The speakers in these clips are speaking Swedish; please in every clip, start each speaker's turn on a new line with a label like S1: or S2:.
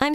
S1: I'm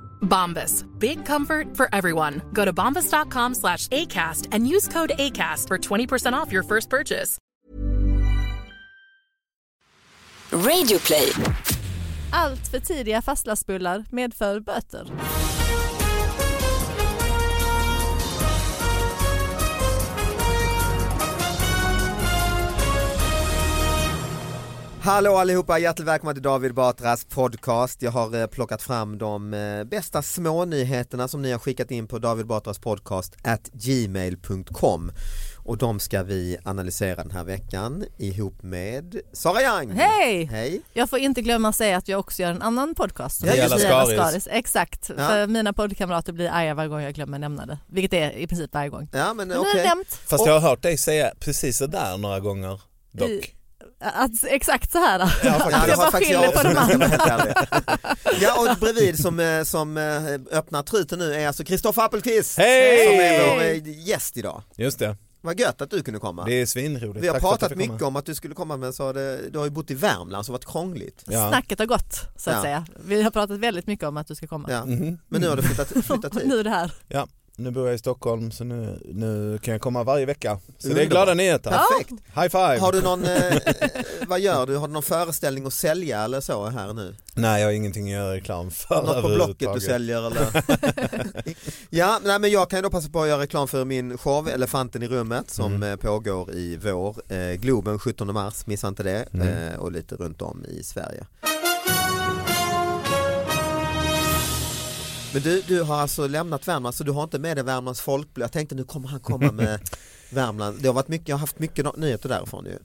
S2: Bombas. Big comfort for everyone. Go to bombas.com slash ACAST and use code ACAST for 20% off your first purchase.
S3: Radioplay.
S4: Allt för tidiga fastlastbullar medför böter.
S5: Hallå allihopa, hjärtligt välkomna till David Batras podcast. Jag har eh, plockat fram de eh, bästa smånyheterna som ni har skickat in på David Batras podcast at gmail.com och de ska vi analysera den här veckan ihop med Sara Young.
S4: Hej!
S5: Hej!
S4: Jag får inte glömma säga att jag också gör en annan podcast. som
S5: Ja,
S4: heter
S5: just det.
S4: Vi alla
S6: Skaris.
S4: Skaris. Exakt,
S5: Ja.
S4: för mina poddkamrater blir arga varje gång jag glömmer nämna det. Vilket är i princip varje gång.
S5: Ja men
S4: Men nu
S5: okej.
S4: har jag nämnt
S7: Fast jag har hört dig säga precis det där några gånger dock.
S4: att, exakt så här.
S7: Ja, faktiskt.
S4: att
S5: det
S4: jag
S5: har
S4: bara
S5: faktiskt
S4: skyller på
S5: också
S4: de andra.
S5: gjort, ärligt. Ja och bredvid som, eh, som eh, öppnar truten nu är alltså Kristoffer Appelqvist
S7: Hej!
S5: som är vår eh, gäst idag.
S7: Just det,
S5: Vad gött att du kunde komma.
S7: det är svinroligt.
S5: Vi har
S7: Tack för att jag
S5: pratat
S7: fick komma.
S5: mycket om att du skulle komma men så har det, du har ju bott i Värmland så det har varit krångligt.
S7: Ja.
S4: Snacket har gått så att
S5: Ja.
S4: säga. Vi har pratat väldigt mycket om att du ska komma.
S5: Ja. typ.
S7: Mhm.
S5: Men nu har du flyttat, flyttat
S4: Och
S5: hit.
S4: nu är det här.
S7: Ja, nu bor jag i Stockholm så nu, nu kan jag komma varje vecka. Så det är
S5: Underbart.
S7: glada nyheter.
S5: Perfekt.
S7: High five!
S5: Har du någon, eh, vad gör du, har du någon föreställning att sälja eller så här nu?
S7: Nej jag har ingenting att göra reklam för
S5: Något på Blocket du
S7: överhuvudtaget.
S5: säljer eller? ja, nej, men jag kan ju då passa på att göra reklam för min show Elefanten i rummet som
S7: Mm.
S5: eh, pågår i vår. Eh, Globen 17 mars, missa inte det.
S7: Mm.
S5: Eh, och lite runt om i Sverige. Men du, du har alltså lämnat Värmland så du har inte med dig Värmlands folkblad. Jag tänkte nu kommer han komma med Värmland. Det har varit mycket, jag har haft mycket no- nyheter därifrån ju.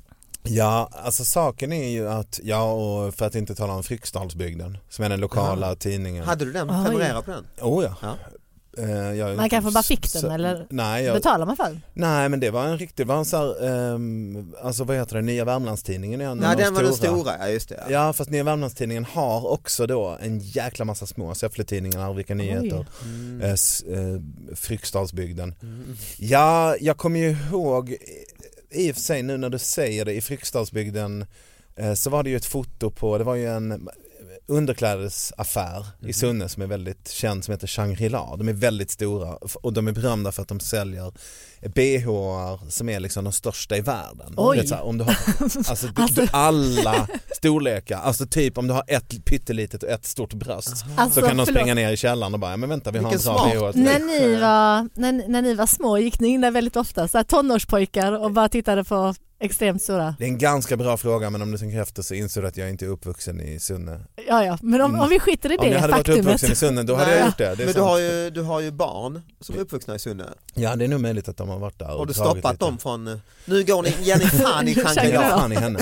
S7: Ja, alltså saken är ju att, ja och för att inte tala om Fryksdalsbygden som är den lokala tidningen.
S5: Hade du den?
S4: Oj.
S5: Prenumerera på den?
S7: Oh, ja.
S5: Ja.
S7: Eh, jag-
S4: Man kanske bara fick
S7: så-
S4: den, eller?
S7: Nej, jag,
S4: Betalar man för den?
S7: nej men det var en riktig, det var en så här, ehm, alltså vad heter det, Nya Värmlandstidningen är en
S5: Nej
S7: av de
S5: den var den stora, ja just det. Ja.
S7: Ja fast Nya Värmlandstidningen har också då en jäkla massa små Säffletidningen, Arvika Nyheter, eh, s- eh, Fryksdalsbygden.
S5: Mm.
S7: Ja, jag kommer ju ihåg eh, i och för sig nu när du säger det i Fryksdalsbygden eh, så var det ju ett foto på, det var ju en underklädesaffär i Sunne som är väldigt känd som heter Shangri-La. De är väldigt stora f- och de är berömda för att de säljer bh som är liksom de största i världen.
S4: Oj.
S7: Du Vet, så här, om du har, alltså, du, du, alla storlekar, alltså typ om du har ett pyttelitet och ett stort bröst
S4: Alltså,
S7: så kan de
S4: förlåt.
S7: springa ner i källaren och bara, "Ja, men vänta vi har
S5: Vilken
S7: en sån
S5: smart
S7: bh. till
S4: När
S7: dig."
S4: ni, var, när, när ni var små gick ni in där väldigt ofta, så här tonårspojkar och bara tittade på extremt stora.
S7: Det är en ganska bra fråga men om du tänker efter så inser du att jag inte är uppvuxen i Sunne.
S4: Ja, ja, men om, om vi skiter i
S7: Mm. Om jag
S4: det
S7: hade varit
S4: faktumet.
S7: uppvuxen i Sunne då hade
S5: Nej,
S7: jag gjort det. det är
S5: Men du
S7: sant.
S5: har, ju, du har ju barn som är uppvuxna i Sunne.
S7: Ja det är nog möjligt att de har varit där och
S5: Har du
S7: dragit
S5: stoppat
S7: lite.
S5: dem från, eh, nu går ni, ger ni fan i
S7: Ja,
S5: Shangri-La.
S7: fan i henne.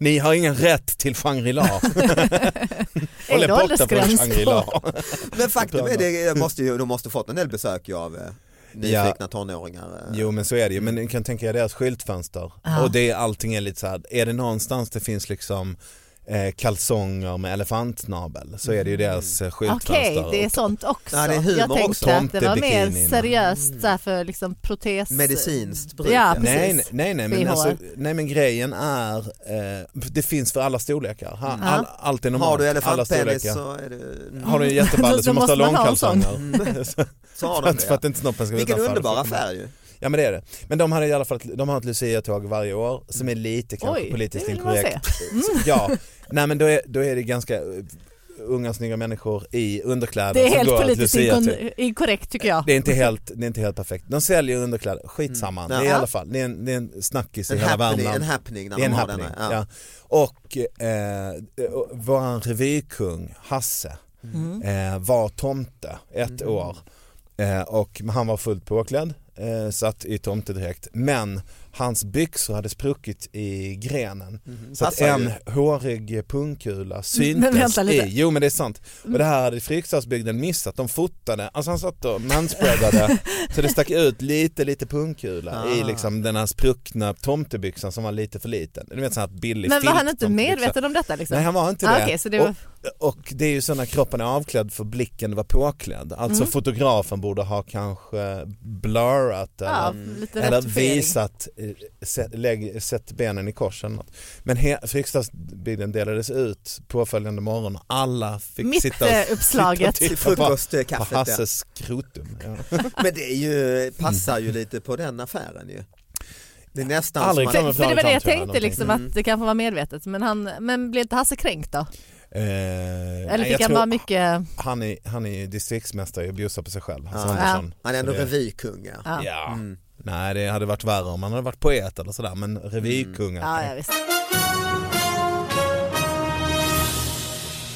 S7: Ni har ingen rätt till Shangri-La.
S4: Är det åldersgräns
S7: Shangri-La.
S5: Men faktum är det, jag måste ju, de måste fått en del besök ju av eh, nyfikna tonåringar. eh.
S7: Jo men så är det ju, men ni kan tänka er deras skyltfönster. Och det, är- allting är lite så här, är det någonstans det finns liksom eh, kalsonger med elefantsnabel så är det ju deras eh, skyltfönster.
S4: Mm. Okej, det är sånt också.
S5: Ja, det är humor
S4: jag tänkte
S5: också.
S4: att det var mer
S7: Tomtebikinin.
S4: seriöst så här för liksom protes...
S5: Medicinskt bruk.
S4: Ja, precis.
S7: Nej, nej, nej, men
S4: BH.
S7: alltså, nej men grejen är, eh, det finns för alla storlekar. Ha,
S4: Mm.
S7: all, allt är normalt.
S5: Har du
S7: alla
S5: elefantpenis
S7: storlekar.
S5: så är det... Mm.
S7: Har du en jätteballe så
S4: Då
S7: måste du ha
S4: måste man ha en sån. Mm.
S7: långkalsonger.
S5: Så har
S7: för,
S5: de
S7: att, för
S5: det.
S7: att inte snoppen ska vara
S5: Vilken
S7: utanför. liksom.
S5: underbar affär ju.
S7: Ja men det är det. Men de, hade i alla fall, ett- de har ett Lucia-tåg varje år som är lite kanske
S4: Oj,
S7: politiskt
S4: det vill man Mm.
S7: inkorrekt. Ja, nej men då är, då är det ganska eh, unga snygga människor i underkläder
S4: Det är
S7: som
S4: helt
S7: går ett
S4: politiskt
S7: Lucia-tåg.
S4: inkon- inkorrekt tycker jag.
S7: Det är, inte helt, det är inte helt perfekt. De säljer underkläder, skitsamma.
S5: Mm. Ja.
S7: Det är i
S5: Ja.
S7: alla fall, det är en, det är en snackis i
S5: En
S7: hela
S5: happening,
S7: Värmland.
S5: en happening när
S7: Det är en
S5: man har
S7: happening.
S5: denna.
S7: Ja. Och eh, och våran revykung Hasse
S5: Mm.
S7: eh, var tomte ett år eh, och han var fullt påklädd, eh, satt i tomtedräkt men hans byxor hade spruckit i grenen så att
S5: Mm. Passar
S7: en
S5: ju.
S7: hårig pungkula
S4: Men
S7: syntes
S4: vänta
S7: i.
S4: lite.
S7: Jo men det är sant. Och det
S4: Mm.
S7: här hade Fryksdalsbygden missat, de fotade, alltså han satt och manspreadade så det stack ut lite lite pungkula i
S4: Ah.
S7: liksom den här spruckna tomtebyxan som var lite för liten. Du vet sån här billig
S4: Men var han
S7: filt
S4: inte
S7: tomtebyxa.
S4: medveten om detta liksom?
S7: Nej han var inte
S4: Ah,
S7: det.
S4: okej, så det var-
S7: och, och det är ju så när kroppen är avklädd för blicken var påklädd. Alltså
S4: Mm.
S7: fotografen borde ha kanske blurrat
S4: Ja,
S7: eller,
S4: lite
S7: eller
S4: ratifiering.
S7: visat, eh, sett, lägg, sett benen i kors eller något. Men he- Fryksdalsbygden delades ut påföljande morgon alla fick
S4: Mitt,
S7: sitta och,
S4: eh, uppslaget.
S7: sitta och titta
S5: Till
S7: på-
S5: frukostkaffet,
S7: på
S5: ja.
S7: Hasses skrotum. Ja. Mm.
S5: Men det är ju, passar ju lite på den affären ju. Det är nästan
S7: Aldrig
S5: som
S7: kan
S5: att-
S7: man-
S4: För det var det jag
S7: Kanske,
S4: tänkte
S7: någonting.
S4: liksom att det kanske var medvetet men, han, men blev inte Hasse kränkt då?
S7: Eh,
S4: Eller
S7: nej,
S4: fick
S7: jag
S4: han
S7: tror-
S4: vara mycket...
S7: han, är, han är ju distriktsmästare och bjussar på sig själv. Hasse
S5: Ja.
S7: Andersson.
S5: Han är ändå
S7: Så det-
S5: revykung ja. Mm.
S4: Ja.
S7: Ja. Nej det hade varit värre om han hade varit poet eller sådär men revykungar.
S4: Mm. Ja, ja, visst.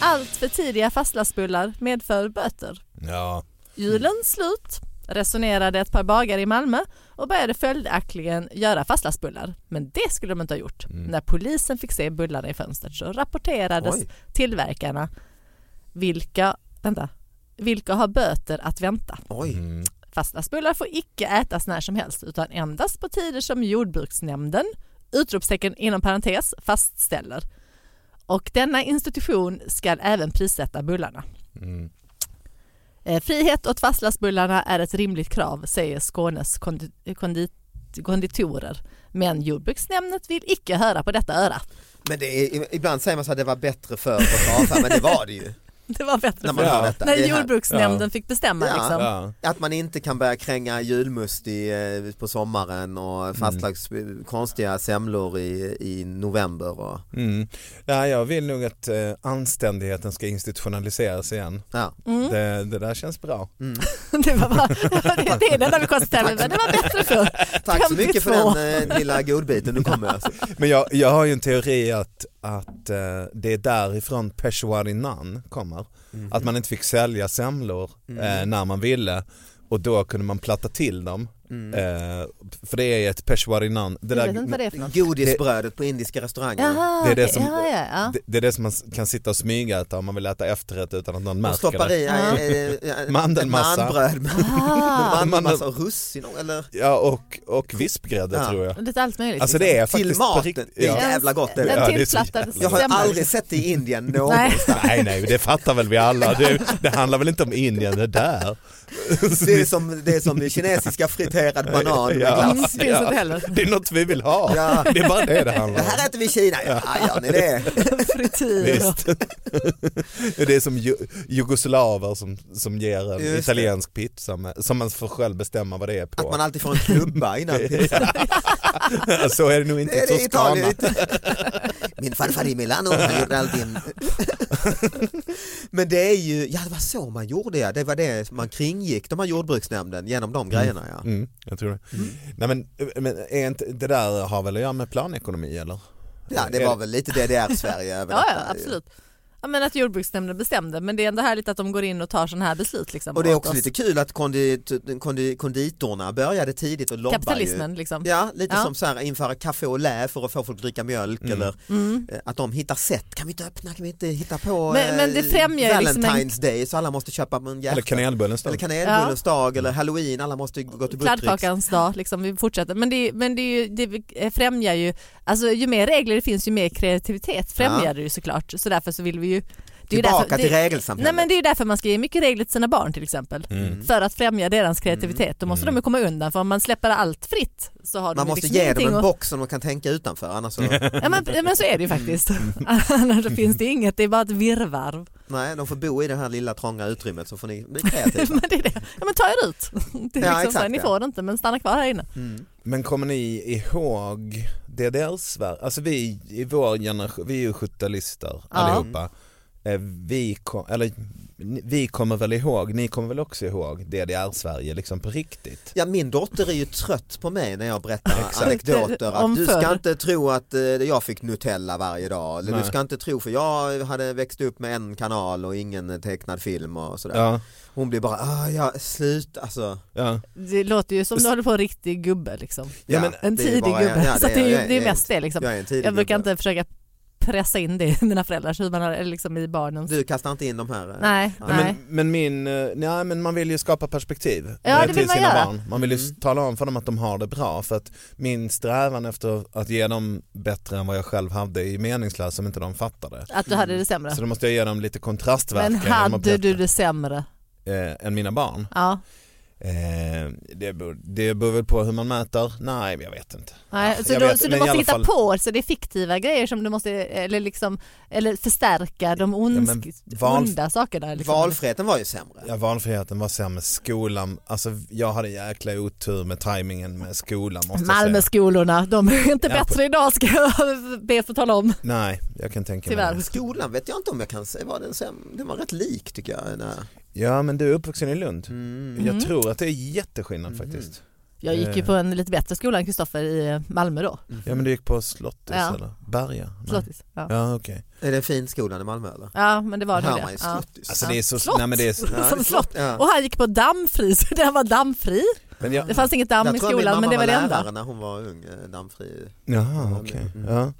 S4: Allt för tidiga fastlastbullar medför böter.
S7: Ja.
S4: Julen slut resonerade ett par bagare i Malmö och började följaktligen göra fastlagsbullar. Men det skulle de inte ha gjort.
S5: Mm.
S4: När polisen fick se bullarna i fönstret så rapporterades
S5: Oj.
S4: tillverkarna vilka, vänta, vilka har böter att vänta.
S5: Oj.
S4: Fastlagsbullar får icke ätas när som helst utan endast på tider som jordbruksnämnden, utropstecken inom parentes, fastställer. Och denna institution ska även prissätta bullarna. Eh, Frihet åt fastlagsbullarna är ett rimligt krav, säger Skånes kondi- kondi- konditorer. Men jordbruksnämnden vill icke höra på detta öra.
S5: Men det är, ibland säger man så att det var bättre förr på affär, men det var det ju.
S4: Det var bättre
S5: När man
S4: förr.
S5: hör detta.
S4: När
S5: Det är här-
S4: jordbruksnämnden
S7: Ja.
S4: fick bestämma.
S5: Ja.
S4: Liksom.
S7: Ja.
S5: Att man inte kan börja kränga julmust i, eh, på sommaren
S7: Mm.
S5: och fastlags konstiga semlor i, i november. Och,
S7: Mm. ja, jag vill nog att eh, anständigheten ska institutionaliseras igen.
S5: ja.
S4: Mm.
S5: Mm.
S7: Det, det där känns bra.
S4: Det, var bara, det, det är det enda vi konstaterade, det var bättre förr.
S5: Tack så mycket för
S4: 52.
S5: den eh, lilla godbiten, nu kommer jag.
S7: Men jag, jag har ju en teori att, att eh, det är därifrån Peshwarinan kommer.
S5: Mm.
S7: Att man inte fick sälja semlor eh, när man ville och då kunde man platta till dem.
S5: Mm.
S7: Eh, för det är ett Peshwarinan. Det
S4: Jag vet inte vad det är för något.
S5: Mm. Godisbrödet på indiska restauranger.
S4: Jaha,
S7: Det är det
S4: Ah, okej.
S7: som-
S4: ja, ja, ja.
S7: Det, det är det som man s- kan sitta och smyga äta om man vill äta efterrätt utan att någon
S5: De
S7: märker
S5: stoppar
S7: det.
S5: i eh, eh, eh,
S7: Mandelmassa.
S5: manbröd
S4: Ah.
S5: med med mandelmassa och russin eller
S7: Ja och, och vispgrädde
S5: Ja.
S7: tror jag.
S4: Lite allt möjligt.
S7: Alltså
S4: liksom.
S7: det är
S5: till
S7: faktiskt på
S5: maten.
S7: rikt-
S5: Det är
S7: ja.
S5: jävla gott det.
S7: Ja,
S4: Den
S7: det är så
S4: tillplattade
S7: jävla
S5: Jag har
S4: semlan.
S5: aldrig sett det i Indien någon.
S4: Nej.
S7: Nej nej det fattar väl vi alla. Det, det handlar väl inte om Indien det där.
S5: Det är som, det är som den kinesiska friterad banan med
S7: Ja,
S5: glass.
S4: finns inte heller.
S7: Det är något vi vill ha.
S5: Ja.
S7: Det är bara det det
S5: Det
S7: handlar om.
S5: här äter vi i Kina. Ja, gör ni det?
S4: Frityr. och-
S7: Visst. Det är som ju- jugoslaver som, som ger en
S5: Just det.
S7: italiensk pizza med, som man får själv bestämma vad det är på.
S5: Att man alltid får en klubba innan pizzan.
S7: Så är det nog inte
S5: Det är det
S7: i
S5: i Italien.
S7: Toscana.
S5: Min farfar i Milano, han gjorde alltid en... Men det är ju, ja det var så man gjorde ja. Det var det man kringgick de här jordbruksnämnden genom de grejerna ja.
S7: Mm, jag tror det. Nej, men, men är inte, det där har väl att göra med planekonomi eller?
S5: Ja det var väl lite DDR-Sverige över
S4: Ja, ja,
S5: detta ju.
S4: absolut. Ja, men att jordbruksnämnden bestämde men det är ändå härligt att de går in och tar sådana här beslut. Liksom,
S5: Och det är
S4: åt
S5: också
S4: oss.
S5: lite kul att kondi- kondi- konditorna började tidigt och lobbar
S4: Kapitalismen
S5: ju.
S4: liksom.
S5: Ja, lite
S4: Ja.
S5: som så här införa kaffe och lä för att få folk att dricka mjölk
S7: Mm.
S5: eller
S4: Mm.
S5: eh, att de hittar sätt, kan vi inte öppna, kan vi inte hitta på
S4: Men-
S5: eh,
S4: men det främjar ju liksom en-
S5: Valentine's Day så alla måste köpa en
S7: Eller
S5: jäkla
S7: kanelbullens dag.
S5: eller kanelbullens dag eller halloween, alla måste gå till Buttericks.
S4: Kladdkakans dag, liksom, vi fortsätter. Men, det, är- men det, är ju, det främjar ju, alltså ju mer regler det finns ju mer kreativitet främjar
S5: Ja.
S4: det ju såklart. Så därför så vill vi ju... Det är ju
S5: Tillbaka
S4: därför,
S5: till
S4: det,
S5: regelsamhället.
S4: Nej men det är ju därför man ska ge mycket regler till sina barn till exempel.
S7: Mm.
S4: För att främja deras kreativitet. Då måste de ju komma undan för om man släpper allt fritt så har de
S5: Mm. Man
S4: ju
S5: måste
S4: liksom
S5: ge dem
S4: ingenting
S5: en
S4: att-
S5: box som de kan tänka utanför annars så,
S4: Ja men, ja, men så är det ju faktiskt.
S5: Mm.
S4: Annars så finns det inget, det är bara ett virrvarr.
S5: nej de får bo i det här lilla trånga utrymmet så får ni bli kreativa.
S4: men det är det. Ja men ta er ut. Det är
S5: Ja,
S4: liksom så
S5: exakt,
S4: här, ni
S5: ja.
S4: får det inte men stanna kvar här inne.
S5: Mm.
S7: Men kommer ni ihåg DDR-Sverige? Alltså vi i vår generation, vi är ju 70-lister
S4: Ja.
S7: allihopa. Eh, Vi, kom, eller, ni- vi kommer väl ihåg, ni kommer väl också ihåg DDR-Sverige liksom på riktigt?
S5: Ja, min dotter är ju trött på mig när jag berättar
S7: Exakt.
S5: anekdoter. Att
S4: Om
S5: du ska
S4: förr.
S5: inte tro att eh, jag fick Nutella varje dag. Eller du
S7: Nej.
S5: ska inte tro för jag hade växt upp med en kanal och ingen tecknad film och sådär.
S7: Ja,
S5: Hon blir bara, ah, ja, slut alltså.
S7: ja.
S4: Det låter ju som du håller på en riktig gubbe liksom.
S7: Ja,
S5: men
S4: En
S5: det är ju
S4: tidig
S5: bara-
S4: gubbe.
S5: ja,
S4: så att det är ju
S5: jag
S4: det är
S5: jag
S4: mest det liksom.
S5: Jag är en tidig
S4: Jag brukar
S5: gubbe.
S4: inte försöka pressa in det i mina föräldrars huvuden eller liksom i barnens.
S5: Du kastar inte in de här? eh,
S4: Nej,
S5: Nej,
S7: Nej,
S4: nej.
S7: Men, men min, eh, nej men man vill ju skapa perspektiv
S4: Ja,
S7: eh,
S4: det vill
S7: till
S4: man
S7: sina
S4: göra.
S7: barn. Man vill ju s-
S5: Mm.
S7: tala om för dem att de har det bra för att min strävan efter att ge dem bättre än vad jag själv hade är meningslös om inte de fattar det.
S4: Att du hade det sämre.
S7: Så då måste jag ge dem lite kontrastverkan
S4: Men
S7: genom att
S4: hade du
S7: berätta.
S4: det sämre?
S7: eh, än mina barn.
S4: Ja.
S7: Eh, det, beror, det beror väl på hur man mäter? Nej, men jag vet inte.
S4: Nej, så
S7: jag
S4: då,
S7: vet,
S4: så
S7: men
S4: du
S7: i
S4: måste
S7: alla
S4: hitta
S7: fall-
S4: på så det är fiktiva grejer som du måste eller liksom eller förstärka de ondsk,
S7: men val-
S4: onda sakerna. Liksom.
S5: Valfriheten var ju sämre.
S7: Ja, valfriheten var sämre, skolan, alltså jag hade jäkla otur med tajmingen med skolan måste jag säga.
S4: Malmöskolorna, de är inte
S7: Ja, på-
S4: bättre idag ska jag be att få tala om.
S7: Nej, jag kan tänka
S4: Tyvärr.
S7: mig
S5: Skolan vet jag inte om jag kan säga, var den, sämre? den var rätt lik tycker jag. den här.
S7: det. Ja, men du är uppvuxen i Lund.
S5: Mm. Mhm.
S7: Jag tror att det är jätteskillnad faktiskt.
S4: Jag gick ju
S7: Eh.
S4: på en lite bättre skola än Kristoffer i Malmö då.
S5: Mm.
S7: Ja, men du gick på Slottis
S4: Ja.
S7: eller Berga? Nej.
S4: Slottis. Ja.
S7: Ja, okej.
S5: Är det en fin skola i Malmö eller?
S4: ja men det var nog
S5: Hör man
S4: det.
S5: ju
S4: Ja.
S5: sluttis.
S7: Alltså
S4: Ja.
S7: det är så,
S4: Slott.
S7: nej men det är så,
S5: Ja, det är
S4: Som slott.
S5: Ja.
S4: Och han gick på dammfri så den var dammfri.
S7: men jag,
S4: Det fanns inget damm
S5: jag
S4: i
S5: tror min
S4: skolan
S5: mamma
S4: men det var det enda.
S5: lärare när hon var ung, eh, dammfri.
S7: jaha okej.
S5: Mm.
S7: Ja.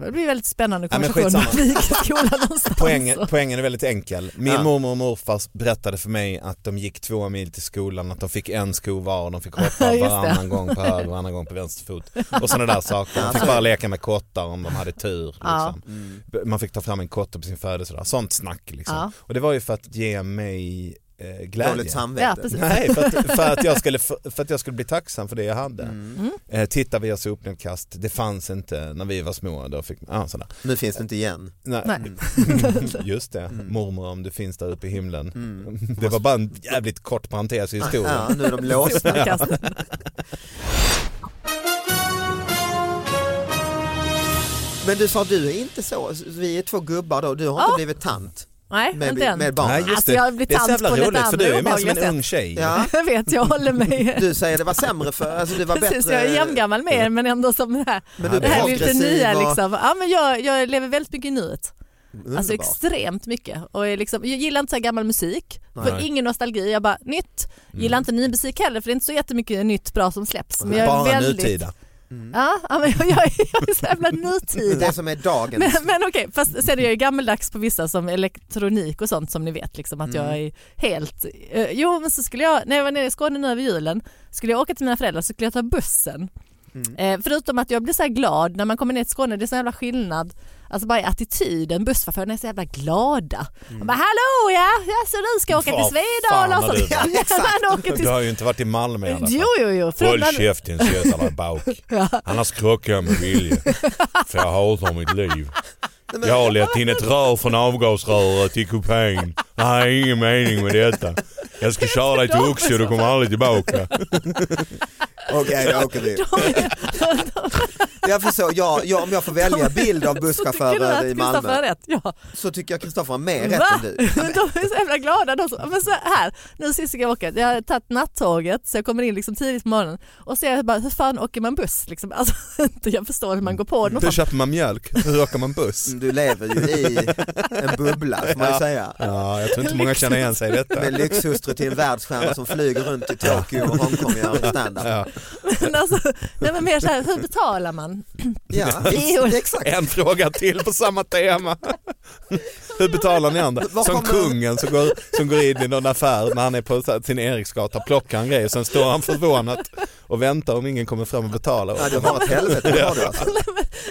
S4: Det blir väldigt spännande
S7: Ja, men
S4: konversation om
S7: skitsamma.
S4: vi gick i skolan någonstans.
S7: Poängen, poängen är väldigt enkel. Min
S5: Ja.
S7: mormor och morfar berättade för mig att de gick två mil till skolan, att de fick en sko var och de fick hoppa
S4: Just det.
S7: varannan gång på höger och annan gång på vänster fot. Och sådana där saker. De
S5: Alltså-
S7: fick bara leka med kottar om de hade tur.
S4: Ja.
S7: Liksom.
S5: Mm.
S7: Man fick ta fram en kotte på sin födelsedag. Sånt snack liksom.
S4: Ja.
S7: Och det var ju för att ge mig eh, glädje.
S5: Dåligt
S4: Ja,
S5: samvete.
S4: precis.
S7: Nej, för att, för, att jag skulle, för, för att jag skulle bli tacksam för det jag hade.
S5: Mm.
S4: Mm.
S7: Eh, titta via sopnedkast, det fanns inte när vi var små. Då fick, ah, sådär.
S5: nu finns det inte igen.
S7: Nej.
S4: Nej.
S5: Mm.
S7: Just det, mormor om du finns där uppe i himlen. Det var bara en jävligt kort parentes i
S5: Mm. Ja,
S7: historien.
S5: nu är de låsta.
S4: Sopnedkast.
S5: Men du sa du är inte så, vi är två gubbar då, du har inte blivit tant
S4: Nej,
S5: med,
S4: inte än.
S5: med barnen.
S7: Nej just
S4: Alltså,
S7: det,
S4: jag blir
S7: det är så
S4: tant
S7: jävla
S4: på lite
S7: roligt för
S4: andra
S7: du är mer som
S4: obehagliga
S7: en
S4: sätt.
S7: ung tjej.
S5: Ja,
S4: Jag vet, jag håller mig.
S5: du säger det var sämre för, alltså det var
S4: Precis,
S5: bättre. eh,
S4: jag är jämngammal med er men ändå som det här,
S5: Men du är
S4: det här lite
S5: progressiv
S4: nya
S5: och-
S4: liksom. Ja, men jag, jag lever väldigt mycket i nuet.
S5: Underbart.
S4: Alltså extremt mycket. Och är liksom, jag gillar inte så här gammal musik, för
S7: Nej. Mm.
S4: ingen nostalgi. Jag bara nytt. Gillar inte ny musik heller för det är inte så jättemycket nytt bra som släpps. Men jag är
S7: Bara
S4: väldigt...
S7: nutida.
S4: Ja, ja, men jag, jag, är- jag är så jävla
S5: det
S4: nutida.
S5: som är dagens.
S4: Men, men okej, fast sen är jag ju gammeldags på vissa som elektronik och sånt som ni vet liksom att
S5: Mm.
S4: jag är helt... eh, jo men så skulle jag, när jag var nere i Skåne nu över julen, skulle jag åka till mina föräldrar så skulle jag ta bussen.
S5: Mm.
S4: Eh, förutom att jag blir så här glad när man kommer ner till Skåne, det är så jävla skillnad. Alltså bara i attityden, busschaufförerna är så jävla glada.
S5: Mm.
S4: De bara hallå ja, ja så du ska åka
S7: Vad
S4: till Svedala
S7: fan har
S4: och sånt.
S7: du varit?
S4: Ja, man åker
S7: Du
S4: till...
S7: har ju inte varit i Malmö i alla
S4: Jo
S7: fall.
S4: jo jo.
S8: Håll
S4: Frundan-
S8: käften söta bauk. Annars krockar jag med Vilje. För jag hatar mitt liv. Jag har lett in ett rör från avgasröret i kupén. Jag har ingen mening med detta. Jag ska köra dig till Oxie och du kommer aldrig tillbaka.
S5: Okej, då åker vi.
S4: De är-
S5: Jag förstår, jag, jag, om jag får välja bild av busschaufförer i
S4: Kristoffer har
S5: Malmö
S4: rätt, ja.
S5: så tycker jag Kristoffer har mer rätt
S4: Va?
S5: än du. Mm,
S4: Men de är så jävla glada. De som, men så här, nu sist jag åka, jag hade tagit nattåget så jag kommer in liksom tidigt på morgonen och ser jag bara hur fan åker man buss? Liksom, alltså, inte jag förstår hur man går på det.
S7: Hur
S4: någonstans.
S7: köper man mjölk? Hur åker man buss?
S5: Du lever ju i en bubbla får man ju säga.
S7: Ja, jag tror inte många känner igen sig i detta.
S5: Med lyxhustru till en världsstjärna som flyger runt i Tokyo och Hongkong och gör en standup.
S7: Ja.
S4: Men alltså, nej, men mer så här, hur betalar man?
S5: Ja,
S4: Jo.
S5: visst, exakt.
S7: En fråga till på samma tema. Hur betalar ni andra?
S5: Var
S7: Som
S5: kommer-
S7: kungen som går, som går in i någon affär när han är på så här sin Eriksgata, plockar en grej och sen står han förvånat och väntar om ingen kommer fram och betalar.
S5: Ja, du har ett helvete, det har du alltså.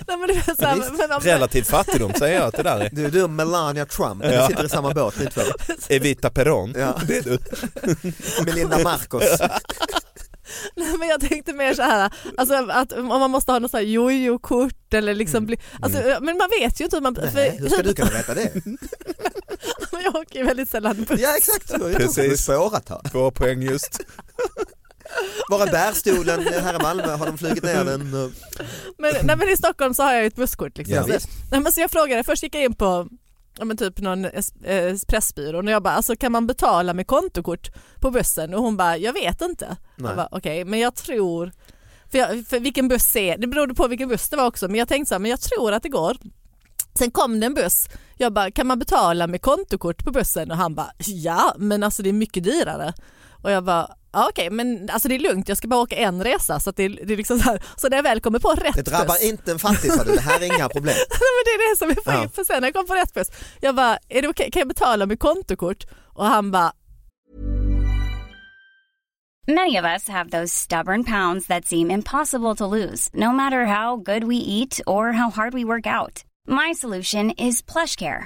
S4: Nej, men det är så här,
S7: Visst.
S4: men om,
S7: Relativ fattigdom säger jag att det där är.
S5: Du är du Melania Trump, ni
S7: Ja.
S5: sitter i samma båt ni två.
S7: Evita Peron.
S5: Ja.
S7: Det är du.
S5: Melinda Marcos.
S4: Nej, men jag tänkte mer så här, alltså, att om man måste ha något så här jojo-kort eller liksom bli, alltså, Men man vet ju inte hur man...
S5: Mm. Nej, hur ska du kunna veta det?
S4: Men jag åker ju väldigt sällan buss.
S5: Ja exakt, du har ju
S7: Precis.
S5: spårat här.
S7: Två poäng just.
S5: Var är bärstolen här i Malmö? Har de flugit ner den?
S4: Men, nej, men i Stockholm så har jag ju ett busskort. Liksom.
S5: Ja,
S4: så,
S5: visst.
S4: nej, men så jag frågade, först gick jag in på ja, men typ någon es- eh, pressbyrå och jag bara, alltså, kan man betala med kontokort på bussen? Och hon bara, jag vet inte.
S5: Nej.
S4: Jag bara, Okej, men jag tror, för, jag, för vilken buss är det? berodde på vilken buss det var också, men jag tänkte så här, men jag tror att det går. Sen kom det en buss, jag bara, kan man betala med kontokort på bussen? Och han bara, ja, men alltså det är mycket dyrare. Och jag bara, ja, okej, men alltså det är lugnt, jag ska bara åka en resa. Så, att det, det är liksom så, här, så när jag väl kommer på rätt
S5: Det drabbar
S4: buss,
S5: inte en fattig sa du, det här är inga problem.
S4: Nej, men det är det som är poängen.
S5: Ja.
S4: För sen när jag kom på rätt buss, jag bara, är det okej, kan jag betala med kontokort? Och han bara,
S9: Many of us have those stubborn pounds that seem impossible to lose, no matter how good we eat or how hard we work out. My solution is PlushCare.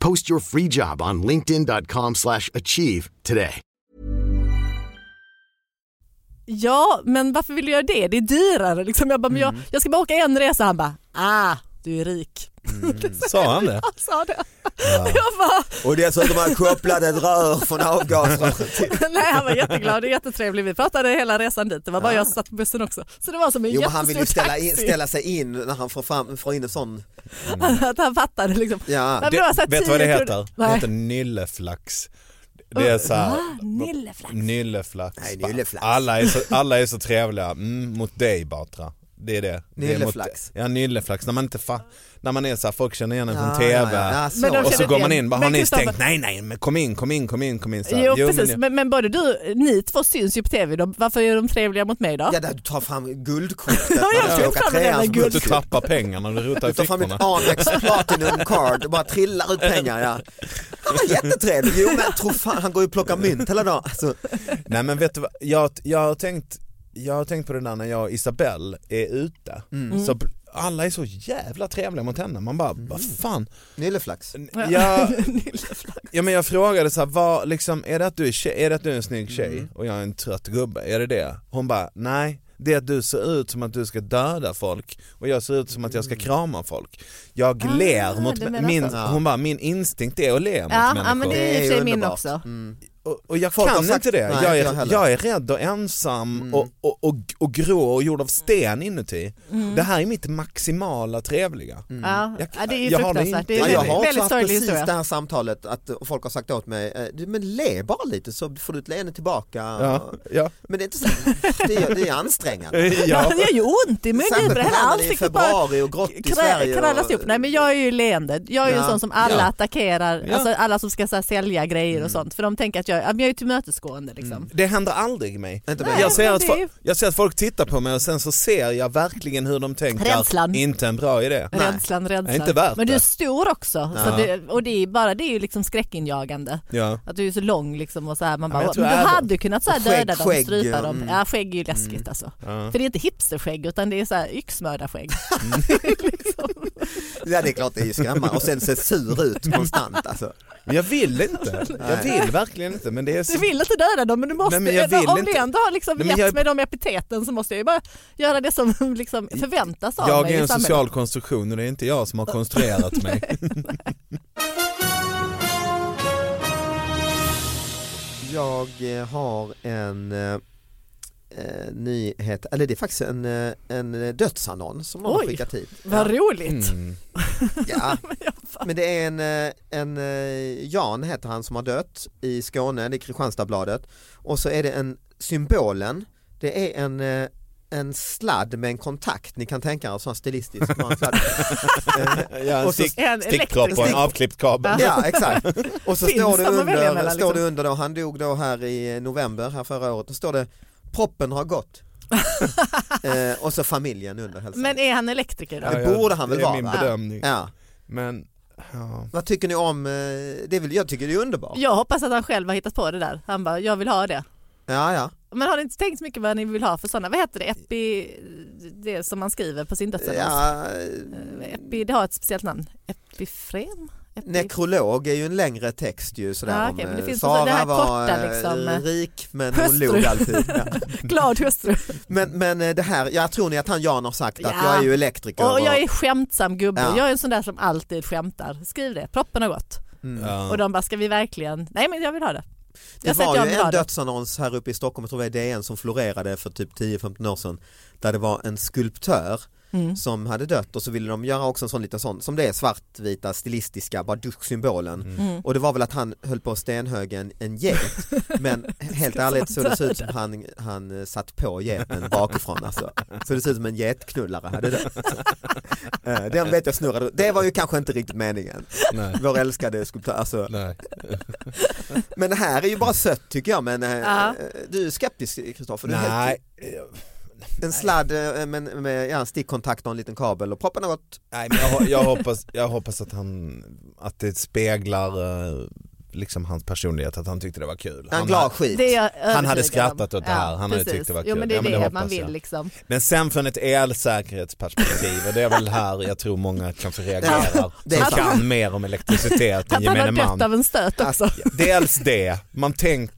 S10: Post your free job on linkedin.com/achieve slash achieve today.
S4: ja men varför vill du göra det? Det är dyrare. Liksom. Jag bara, men
S5: Mm.
S4: jag, jag ska bara åka en resa. Han bara, ah, du är rik.
S5: Mm.
S7: Sa han det?
S4: Han sa det. Jag bara,
S5: Och dessutom har jag kopplat ett rör från avgasröret till.
S4: nej han var jätteglad och jättetrevlig. Vi pratade hela resan dit. Det var bara jag som satt på bussen också. Så det var som en
S5: Jo men
S4: jättestor
S5: han vill ju ställa, in,
S4: taxi.
S5: ställa sig in när han får, fram, får in en sån.
S4: Att han fattade liksom.
S5: Ja.
S4: Nej, men var så här
S7: vet du vad det
S4: 10
S7: heter?
S4: kronor.
S7: Det
S4: Nej.
S7: heter nylleflax. Det är så här,
S4: Ah, Nilleflax.
S7: Nylleflax.
S5: Nej, nylleflax.
S7: Alla är så, alla är så trevliga mm, mot dig Batra. Det är det. det är
S5: Nylleflax.
S7: Mot, ja nylleflax, när man inte fa- när man är så här, folk känner igen en
S5: Ja,
S7: från TV.
S5: ja, ja. Ja, så. Men de
S7: Och så
S4: känner
S7: går
S4: igen.
S7: man in, bara, har
S4: Men
S7: ni
S4: Kristoffer-
S7: stängt? Nej nej, men kom in, kom in, kom in, kom in. Så här,
S4: Jo,
S7: "Jo, men
S4: precis,
S7: jag-
S4: men, men, både du, ni två syns ju på tv. De, varför är de trevliga mot mig då?
S5: Ja, där du tar fram guldkortet.
S4: Ja, jag
S5: Man ska
S4: tog
S5: åka
S4: fram det
S5: treans
S4: där
S7: Så att du
S5: guldkort.
S7: tappar pengarna och du rotar i
S5: Du tar fram
S7: fickorna.
S5: ett Amex Platinum Card och bara trillar ut pengar. Ja. Han var jättetrevlig. Jo men tro fan, han går ju och plockar mynt hela dagen. Alltså,
S7: Nej men vet du vad, jag, jag, har tänkt, jag har tänkt på det där när jag och Isabelle är ute.
S4: Mm.
S7: Så alla är så jävla trevliga mot henne, man bara, vad
S4: Mm.
S7: fan.
S5: Nylleflax.
S7: Jag, ja, men jag frågade så här, vad, liksom, är, det att du är tjej, är det att du är en snygg tjej
S4: Mm.
S7: och jag är en trött gubbe? Är det det? Hon bara, nej. Det är att du ser ut som att du ska döda folk och jag ser ut som att jag ska krama folk. Jag
S4: Mm. Ah,
S7: ler mot,
S4: du menar
S7: min,
S4: så.
S7: hon bara, min instinkt är att le mot
S4: Ja,
S7: människor.
S4: ja, men det är i och för sig min också.
S5: Mm.
S7: Och, och jag
S5: Folk har
S7: kan
S5: sagt-
S7: inte
S5: Nej,
S7: det. jag,
S5: inte jag
S7: är,
S5: heller. Mm.
S7: jag är rädd och ensam och, och, och, och grå och gjord av sten inuti. Det här är mitt maximala trevliga.
S4: Mm. Ja,
S7: Jag-
S4: ja, det är ju
S7: jag har
S4: fruktansvärt.
S7: det
S4: Det är
S7: inte.
S5: Mm. Ja,
S4: en
S5: jag har
S4: väldigt,
S5: också
S4: väldigt
S5: haft
S4: sorglig
S5: precis
S4: historia.
S5: det här samtalet att och folk har sagt åt mig, eh, du, men le bara lite så får du ett leende tillbaka.
S7: Ja, ja.
S5: Men det är inte så, det är, det är ansträngande.
S4: Ja.
S7: ja.
S4: Det gör ju ont i munnen.
S5: Särskilt
S4: för
S5: när
S4: Hela
S5: det är i
S4: ansiktet bara
S5: februari och grått i
S4: krä-
S5: Sverige.
S4: krallas
S5: och-
S4: ihop. Nej men jag är ju leende. Jag är
S5: Ja.
S4: ju
S5: Mm.
S4: en sån som alla
S7: Ja.
S4: attackerar,
S7: Ja.
S4: alltså alla som ska så här, sälja grejer och sånt. För de tänker att brukar jag, men jag är tillmötesgående liksom.
S7: Det händer aldrig mig.
S4: Inte mig.
S7: jag, ser
S4: Nej,
S7: att
S4: men
S7: fo-
S4: det är ju-
S7: jag ser att folk tittar på mig och sen så ser jag verkligen hur de tänker.
S4: Rädslan.
S7: Inte en bra idé.
S4: Rädslan, rädslan.
S7: Inte värt
S4: Men du är
S7: det.
S4: stor också. Så
S7: Ja.
S4: det, och det är, bara det är ju liksom skräckinjagande.
S7: Ja.
S4: Att du är så lång liksom och så här, man
S7: Ja,
S4: bara,
S7: men jag
S4: men
S7: tror
S4: du
S7: jag är-
S4: hade kunnat så här
S7: och skägg,
S4: döda dem,
S7: skägg,
S4: strypa
S7: ja,
S4: dem.
S7: mm.
S4: Ja, skägg är ju läskigt alltså.
S7: Ja.
S4: För det är inte hipsterskägg utan det är så här yxmördarskägg.
S5: Ja det är klart det är ju skrämmande och sen ser sur ut konstant alltså.
S7: Men jag vill inte. Jag
S5: Nej.
S7: vill verkligen inte men det är så...
S4: Du vill inte döda dem men du måste,
S7: Nej, men jag vill
S4: om du
S7: inte.
S4: ändå har liksom
S7: Nej, men
S4: gett
S7: jag är-
S4: mig de epiteten så måste jag ju bara göra det som liksom förväntas av
S7: Jag
S4: mig i
S7: är en
S4: samhället.
S7: social konstruktion och det är inte jag som har konstruerat mig.
S5: Jag eh, har en eh, eh, nyhet, eller det är faktiskt en, eh, en dödsannons som någon har
S4: Oj,
S5: skickat hit.
S4: Vad
S7: Mm.
S4: roligt.
S5: Ja. Men det är en, eh, en eh, Jan heter han som har dött i Skåne, det är Kristianstadsbladet. Och så är det en, symbolen, det är en eh, en sladd med en kontakt, ni kan tänka er en sån stilistisk man sladd. Eh,
S7: Ja, en
S5: och så-
S7: stick- En stickpropp och en
S5: stick-
S7: avklippt kabel.
S5: Ja exakt. Och så
S7: Finns
S5: står det,
S7: de att välja
S5: under,
S7: mellan,
S5: står det
S7: liksom?
S5: under då, han dog då här i november här förra året, då står det proppen har gått. eh, och så familjen under hälsar.
S4: Men är han elektriker då?
S5: Ja, Det borde han väl
S7: det är
S5: vara,
S7: min
S5: va?
S7: bedömning.
S5: Ja.
S7: Men, ja.
S5: Vad tycker ni om, eh, det är väl, jag tycker det är underbart.
S4: Jag hoppas att han själv har hittat på det där. Han bara, jag vill ha det.
S5: Ja, ja.
S4: Men har ni inte tänkt så mycket vad ni vill ha för sådana, vad heter det, epi, det som man skriver på sin
S5: Ja,
S4: dödsannons? eh,
S5: Eh,
S4: Epi, det har ett speciellt namn. Epifrem? Epi-
S5: Nekrolog är ju en längre text ju sådär
S4: Ja,
S5: om
S4: okej, men
S5: eh,
S4: det finns också
S5: Sara
S4: det här
S5: var
S4: korta,
S5: eh,
S4: liksom,
S5: rik men hon
S4: hustru.
S5: log alltid. Ja.
S4: Glad hustru.
S5: Men, men eh, det här, jag tror ni att han Jan har sagt att
S4: Ja.
S5: jag är ju elektriker.
S4: Och jag är skämtsam gubbe,
S5: Ja.
S4: jag är en sån där som alltid skämtar. Skriv det, proppen har gått.
S5: Mm.
S4: Och de bara, ska vi verkligen? Nej men jag vill ha det.
S5: Det
S4: Jag säger att
S5: var
S4: jag
S5: ju
S4: vill ha
S5: en
S4: det.
S5: dödsannons här uppe i Stockholm, jag tror det var DN som florerade för typ 10-15 år sedan, där det var en skulptör
S4: Mm.
S5: som hade dött och så ville de göra också en sån liten sån, som det är svartvita stilistiska, bara duschsymbolen.
S4: Mm.
S5: Och det var väl att han höll på att stenhöga en, en get, men helt ärligt så det såg ut som han, han eh, satt på geten bakifrån alltså. Så det såg ut som en getknullare hade dött. Eh, Den vet jag snurrade, det var ju kanske inte riktigt meningen.
S7: Nej.
S5: Vår älskade skulptör, alltså.
S7: Nej.
S5: Men det här är ju bara sött tycker jag men eh,
S4: Ja.
S5: du är skeptisk Kristoffer? Du är
S7: Nej.
S5: helt- En sladd eh, men, med ja, stickkontakt och en liten kabel och proppen har gått.
S7: Nej, men jag, ho- jag, hoppas, jag hoppas att han, att det speglar eh, liksom hans personlighet, att han tyckte det var kul.
S5: Han glad
S7: hade-
S5: skit.
S4: Det är jag
S7: Han hade
S4: övertygad
S7: skrattat
S4: om.
S7: åt det här,
S4: Ja,
S7: han hade
S4: precis.
S7: tyckt det var kul.
S4: Jo men det är
S7: Ja,
S4: det, man
S7: hoppas
S4: vill
S7: jag.
S4: liksom.
S7: Men sen från ett elsäkerhetsperspektiv och det är väl här jag tror många kanske reagerar
S5: det är
S7: som
S5: sant.
S7: kan mer om elektricitet än
S4: Att han
S7: gemene
S4: har dött
S7: man.
S4: av en stöt också.
S7: Dels det, man tänk,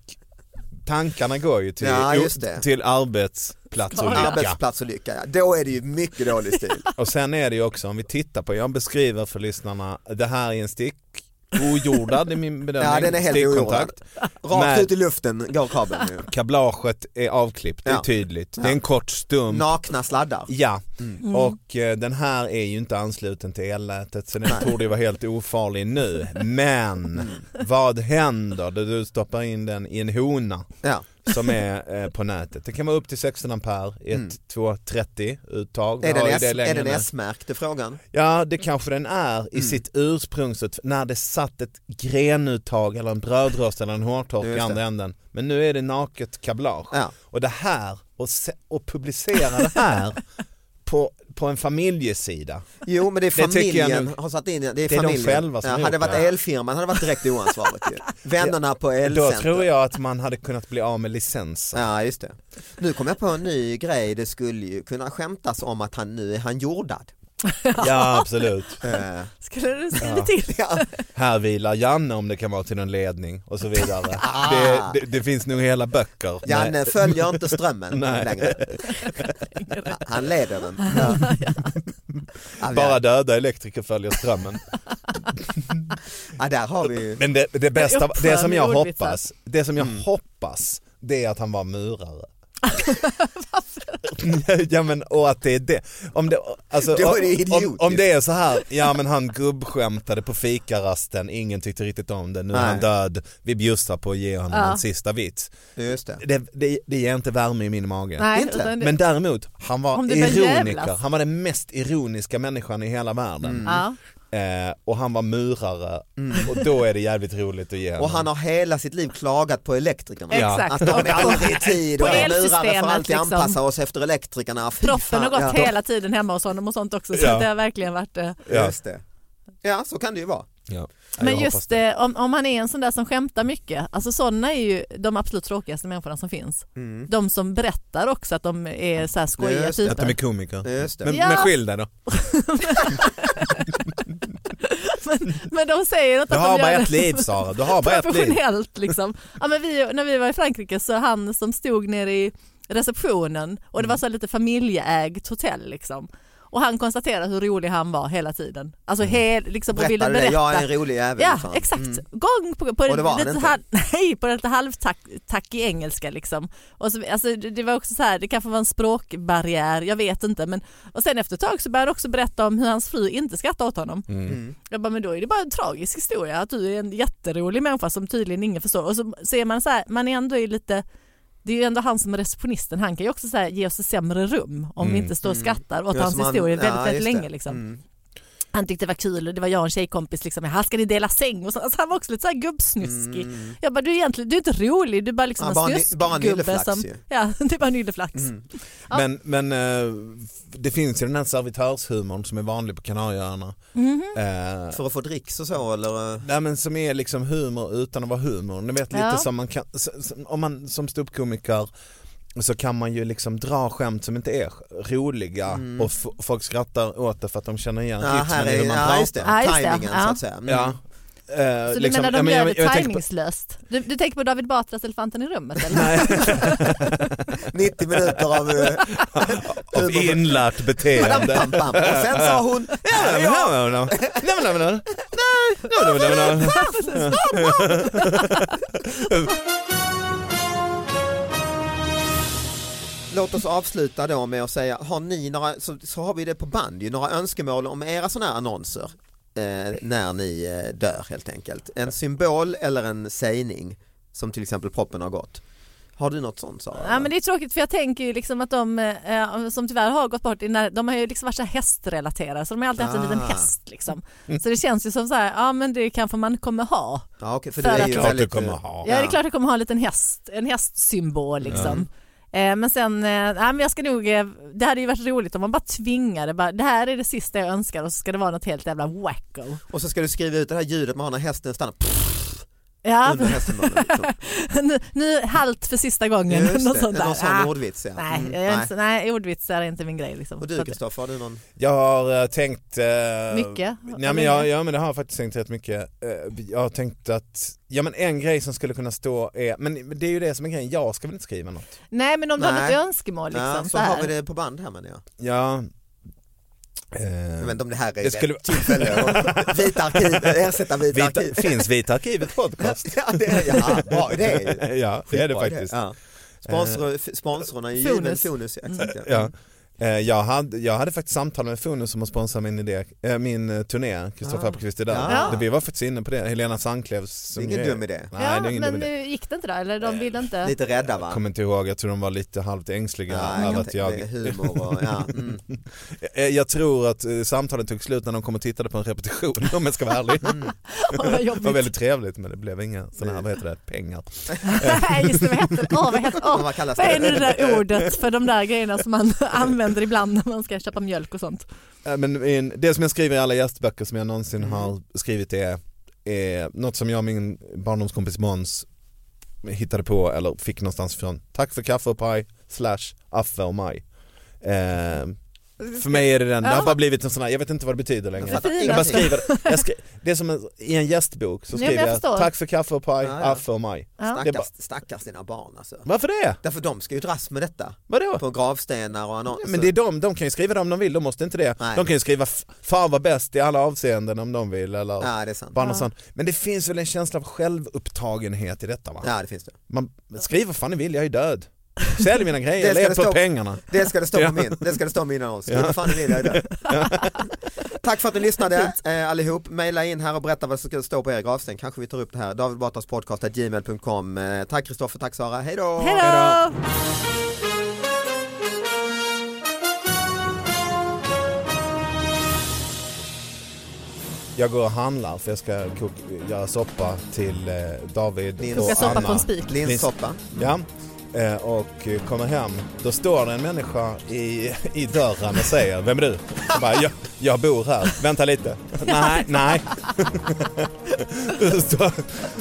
S7: tankarna går ju till,
S5: Ja, just det.
S7: till arbetsplatsolycka.
S5: Arbetsplatsolycka, ja. då är det ju mycket dålig stil.
S7: Och sen är det ju också om vi tittar på, jag beskriver för lyssnarna, det här är en stick, ojordad i min bedömning,
S5: Ja den är helt
S7: stickkontakt.
S5: ojordad. Rakt
S7: Men- Mm.
S5: ut i luften går kabeln nu.
S7: Kablaget är avklippt, det
S5: Ja.
S7: är tydligt.
S5: Ja.
S7: Det
S5: Mm.
S7: är en kort stump.
S5: Nakna sladdar.
S7: Ja, och eh, den här är ju inte ansluten till elnätet så den torde ju vara helt ofarlig nu. Men
S5: Mm.
S7: vad händer när du stoppar in den i en hona
S5: Ja.
S7: som är eh, på nätet? Det kan vara upp till 16 ampere, 1, 2, 30 uttag.
S5: Mm. Är
S7: Vi
S5: den,
S7: har ju
S5: S,
S7: det
S5: är
S7: längre
S5: den
S7: nu.
S5: S-märkt är frågan?
S7: Ja, det kanske den är
S5: Mm.
S7: i sitt ursprungsut när det satt ett grenuttag eller en brödrost eller en hårtork i
S5: Just det.
S7: andra änden. Men nu är det naket kablage.
S5: Ja.
S7: Och det här, och, se, och publicera det här på, på en familjesida.
S5: Jo men det är
S7: Det tycker jag
S5: familjen
S7: nog-
S5: har satt in det, är
S7: Det är de
S5: familjen.
S7: själva som
S5: ja,
S7: har
S5: hade det
S7: gjort
S5: varit
S7: det.
S5: elfirman hade det varit direkt oansvarigt ju. Vännerna på
S7: Då
S5: elcenter.
S7: tror jag att man hade kunnat bli av med licensen.
S5: Ja just det. Nu kom jag på en ny grej, det skulle ju kunna skämtas om att han nu är han jordad.
S7: Ja, absolut.
S5: Eh,
S4: Skulle du skriva till?
S5: ja.
S7: Här vilar Janne om det kan vara till någon ledning och så vidare. Det, det, det finns nog hela böcker.
S5: Ah. Janne
S7: Nej.
S5: följer inte strömmen
S7: Nej.
S5: längre. Han leder den. Ja, vi-
S7: Bara döda elektriker följer strömmen.
S5: ja, där har vi ju.
S7: Men det, det bästa,
S4: uppför
S7: det som
S4: med
S7: jag
S4: ordvitsar.
S7: hoppas, det som jag
S5: Mm.
S7: hoppas det är att han var murare. ja men och att det är det. Om det, alltså,
S5: Det var ju
S7: om,
S5: idiotiskt.
S7: om det är så här, ja men han gubbskämtade på fikarasten, ingen tyckte riktigt om det, nu är
S5: Nej.
S7: han död, vi bjussar på att ge honom
S4: Ja.
S7: en sista vits.
S5: Just det.
S7: Det, det, det ger inte värme i min mage.
S4: Nej,
S5: Inte.
S4: utan det-
S7: Men däremot, han var
S4: Om det börjar
S7: ironiker,
S4: jävlas.
S5: Mm.
S7: han var den mest ironiska människan i hela världen.
S4: Ja.
S7: Eh, och han var murare och då är det jävligt roligt att ge honom.
S5: Och han har hela sitt liv klagat på elektrikerna.
S7: Ja.
S5: Att de är aldrig i tid och
S4: På
S5: vi murare får
S4: elsystemet,
S5: alltid
S4: liksom.
S5: anpassa oss efter elektrikerna. Fy
S4: Proppen har
S5: fan,
S4: gått
S5: ja.
S4: hela tiden hemma hos honom och sånt också så
S5: Ja.
S4: det har verkligen varit eh,
S5: Ja. Just det. Ja, så kan det ju vara.
S7: Ja.
S4: Men just eh, om, om han är en sån där som skämtar mycket, alltså sådana är ju de absolut tråkigaste människorna som finns.
S7: Mm.
S4: De som berättar också att de är så här skojiga typ.
S7: Just det,
S4: typer.
S7: Att de är komiker.
S5: Just det.
S7: Men,
S4: Ja.
S7: men skilj dig då.
S4: Men de säger något
S7: Du
S4: att de
S7: har bara
S4: gör
S7: ett
S4: det
S7: liv Sara, du har bara ett liv.
S4: professionellt liksom. Ja, men vi, när vi var i Frankrike så han som stod nere i receptionen och
S7: Mm.
S4: det var så här lite familjeägt hotell liksom. Och han konstaterade hur rolig han var hela tiden. Alltså
S7: Mm.
S4: hel, liksom och ville
S5: Berättade det,
S4: berätta.
S5: jag är en rolig jävel.
S4: Ja,
S5: liksom.
S4: exakt.
S5: Mm.
S4: Gång på gång. På
S5: Och det var han
S4: lite
S5: inte.
S4: halv, nej, på lite halvtack i engelska liksom. Och så, alltså, det det var också så här, det kanske var en språkbarriär, jag vet inte. Men, och sen efter ett tag så började han också berätta om hur hans fru inte skrattade åt honom.
S7: Mm.
S4: Jag bara, men då är det bara en tragisk historia att du är en jätterolig människa som tydligen ingen förstår. Och så ser man så här, man är ändå i lite det är ju ändå han som är receptionisten, han kan ju också så här, ge oss ett sämre rum om vi
S7: Mm.
S4: inte står och skrattar åt
S5: Ja,
S4: hans
S5: som han-
S4: historia väldigt,
S5: ja,
S4: väldigt
S5: just det. Mm.
S4: länge. Liksom. Han tyckte det var kul och det var jag och en tjejkompis, liksom, här ska ni dela säng och så. Alltså, han var också lite så här gubbsnuskig. Jag bara, du är egentligen du är inte rolig, du är bara liksom
S5: Ja,
S4: en
S5: bara en-
S4: snuskgubbe.
S5: bara en ylleflax
S4: som,
S5: ju.
S4: Ja, det är bara en ylleflax. Ja.
S7: Men, men eh, det finns ju den här servitörshumorn som är vanlig på Kanarieöarna.
S4: Mhm.
S7: Eh,
S5: För att få dricks och så eller? eh,
S7: Nej men som är liksom humor utan att vara humor. Ni vet lite
S5: Ja.
S7: som man kan, s- s- om man som ståuppkomiker så kan man ju liksom dra skämt som inte är roliga
S5: Mm.
S7: och f- folk skrattar åt det för att de känner igen
S5: Ja, här
S7: rytmen i
S5: är-
S7: hur man
S5: ja,
S7: pratar.
S5: just det. Ja, just det. Timingen, så att säga. Mm.
S7: Ja. Eh,
S4: Så du
S7: liksom,
S4: menar
S7: ja,
S4: de
S7: men
S4: gör
S7: jag-
S4: det
S7: jag tänker på-
S4: tajmingslöst? Du, du tänker på David Batras Elefanten i rummet eller?
S5: 90 minuter av... eh,
S7: av inlärt beteende.
S5: Pam, pam, pam. Och sen sa hon, "Ja, ja."
S7: Nej, men, nej, men, nej, nej, nej, nej, nej.
S5: Låt oss avsluta då med att säga, har ni några, så, så har vi det på band ju, några önskemål om era sådana här annonser eh, när ni eh, dör helt enkelt. En symbol eller en sägning som till exempel proppen har gått. Har du något sånt Sara?
S4: Ja men det är tråkigt för jag tänker ju liksom att de eh, som tyvärr har gått bort, innan- de har ju liksom varit så här hästrelaterade så de har alltid haft en liten
S5: Ah.
S4: häst liksom. Så det känns ju som så här, ja men det kanske man kommer ha.
S5: Ja, okej, för
S4: För
S5: du är
S4: att-
S5: ju
S4: Klart du
S5: väldigt,
S7: kommer
S5: eh,
S7: ha.
S4: Ja, det är klart jag kommer ha en liten häst, en hästsymbol liksom. Eh, Men sen, eh, nej, men jag ska nog, eh, det hade ju varit roligt om man bara tvingade, bara, det här är det sista jag önskar och så ska det vara något helt jävla wacko.
S5: Och så ska du skriva ut det här ljudet man har när hästen stannar pff,
S4: Ja,
S5: under hästmunnen. liksom.
S4: nu, nu halt för sista gången.
S5: Just
S4: något
S5: det,
S4: sånt där.
S5: någon sån
S4: Ah,
S5: ordvits, ja.
S4: Nej,
S5: Mm,
S4: jag är
S5: nej.
S4: inte, nej, ordvitsar är inte min grej liksom.
S5: Och
S4: Så
S5: du
S4: att-
S5: Kristoffer, har du någon?
S7: Jag har eh, tänkt... eh,
S4: Mycket?
S7: Nej, men jag, ja men det har jag faktiskt tänkt rätt mycket. Eh, jag har tänkt att, ja men en grej som skulle kunna stå är, men det är ju det som är grejen, jag ska väl inte skriva något?
S4: Nej men om du har
S5: Nej.
S4: något önskemål liksom.
S5: ja, så
S4: här.
S5: har vi det på band här menar jag.
S7: Ja. Eh,
S4: Mm.
S5: Jag vet inte om det här är
S7: Det skulle-
S5: rätt tillfälle att vita arkiv, ersätta vita,
S7: Vita,
S5: arkiv.
S7: finns Vita Arkivet podcast?
S5: ja, det är, ja, bra idé.
S7: ja, det är det
S5: Skitbra idé.
S7: faktiskt. Eh,
S5: Ja. Sponsor, f- sponsorn är ju
S4: Fonus.
S5: given Fonus. Ja, Mm. exakt,
S7: Ja. Eh, Jag hade, jag hade faktiskt samtal med Fonus som har sponsrat min, idé, eh, min eh, turné, Kristoffer
S5: Ah.
S7: Appelqvist är där.
S5: Ja.
S7: Det- Vi var faktiskt inne på det, Helena Sandklevs. som
S5: Det är ingen
S7: ju-
S5: dum idé. Eh,
S7: Nej,
S4: ja,
S7: det är ingen dum
S4: men
S7: idé.
S4: nu gick det inte då? Eller de ville inte?
S5: Lite rädda va?
S7: Kommer inte ihåg, jag tror de var lite halvt ängsliga
S5: Ja, jag
S7: över
S5: kan
S7: att
S5: tänka mig
S7: jag...
S5: humor och, ja. Mm.
S7: Eh, Jag tror att eh, samtalet tog slut när de kom och tittade på en repetition om jag ska vara ärlig.
S4: Åh, vad
S7: det var
S4: jobbigt.
S7: väldigt trevligt men det blev inga sådana här, vad heter det, pengar.
S4: Nej just det, vad heter det? Åh, vad, heter, åh,
S5: Men vad kallas
S4: vad är
S5: det?
S4: nu det där ordet för de där grejerna som man använder ibland när man ska köpa mjölk och sånt?
S7: Eh, Men en- det som jag skriver i alla gästböcker som jag någonsin
S4: Mm.
S7: har skrivit är, är något som jag och min barndomskompis Måns hittade på eller fick någonstans från. Tack för kaffe och paj slash affe och maj. Eh, för mig är det den, det har
S4: Alltså, Ja.
S7: bara blivit en sån här, jag vet inte vad det betyder längre.
S5: Jag fattar
S7: Jag bara
S5: ingenting.
S7: skriver, jag skri, det är som en, i en gästbok så
S4: Nej, men
S7: skriver
S4: jag
S7: jag,
S4: förstår.
S7: tack för kaffe och paj,
S5: Ja, ja.
S7: affe och maj. Det är bara,
S5: Stackars, stackars dina barn alltså.
S7: varför det?
S5: Därför de ska ju dras med detta.
S7: Vadå?
S5: På gravstenar och annonser.
S7: Men det är de, de kan ju skriva det om de vill, de måste inte det.
S5: Alltså. Nej.
S7: De kan ju skriva f- fan vad bäst i alla avseenden om de vill eller
S5: Ja, det är sant.
S7: bara något sånt. Men det finns väl en känsla av självupptagenhet i detta va?
S5: Ja, det finns det.
S7: Man skriver vad fan ni vill, jag är död. Sälj mina grejer,
S5: Det ska
S7: lev
S5: det
S7: på
S5: stå-
S7: pengarna.
S5: Det ska det stå
S7: Ja.
S5: på min, det ska det stå på min annons. Skriv vad fan ni vill, jag är där. Tack för att ni lyssnade eh, allihop. Maila in här och berätta vad som ska stå på er gravsten. Kanske vi tar upp det här. David Batras podcast gmail.com. Eh, tack Kristoffer, tack Sara. Hej då!
S4: Hej då!
S7: Jag går och handlar för jag ska koka, göra soppa till eh, David
S4: Lins-
S7: och
S4: Koka soppa
S7: Anna.
S4: på en spik.
S7: Lins-
S5: Linssoppa.
S7: Ja. Eh, Och eh, kommer hem, då står det en människa i, i dörren och säger Vem är du? Jag, bara, jag, jag bor här, vänta lite. Nej, nej. Då står,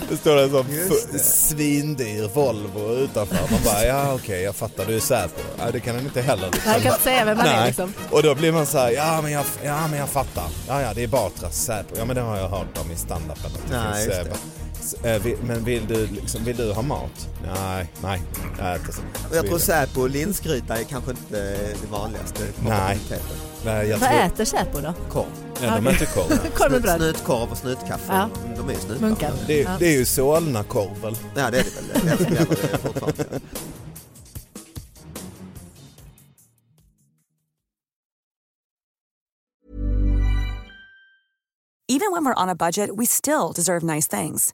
S7: då står det en sån
S5: Just det.
S7: fu- svindyr Volvo utanför. Man bara, ja okej jag fattar du är Säpo. Ja, det kan han inte heller. Liksom.
S4: Nej, jag kan inte säga vem han är,
S7: Nej.
S4: liksom.
S7: Och då blir man så här, ja men jag, ja, men jag fattar. Ja, ja, det är Batras Säpo. Ja, men det har jag hört om i standupen. att det
S5: Nej,
S7: finns,
S5: just det.
S7: eh, s- eh, vi- Men vill du, liksom, vill du ha mat? Nej, nej. Jag äter så.
S5: Och jag tror Säpo och linsgryta är kanske inte eh, det vanligaste.
S7: Nej. nej jag
S4: Vad
S7: tror,
S4: äter Säpo då?
S5: Korv.
S7: Ja, de
S4: Okej.
S7: äter korv.
S4: Korv med
S5: Snut,
S4: bröd.
S5: snutkorv och snutkaffe.
S4: Ja.
S5: De är ju snutar.
S4: Munkar.
S7: Det, är-
S4: Ja.
S7: det är ju Solnakorv väl?
S5: Ja, det är det väl. Jag älskar det fortfarande.
S11: Even when we're on a budget, we still deserve nice things.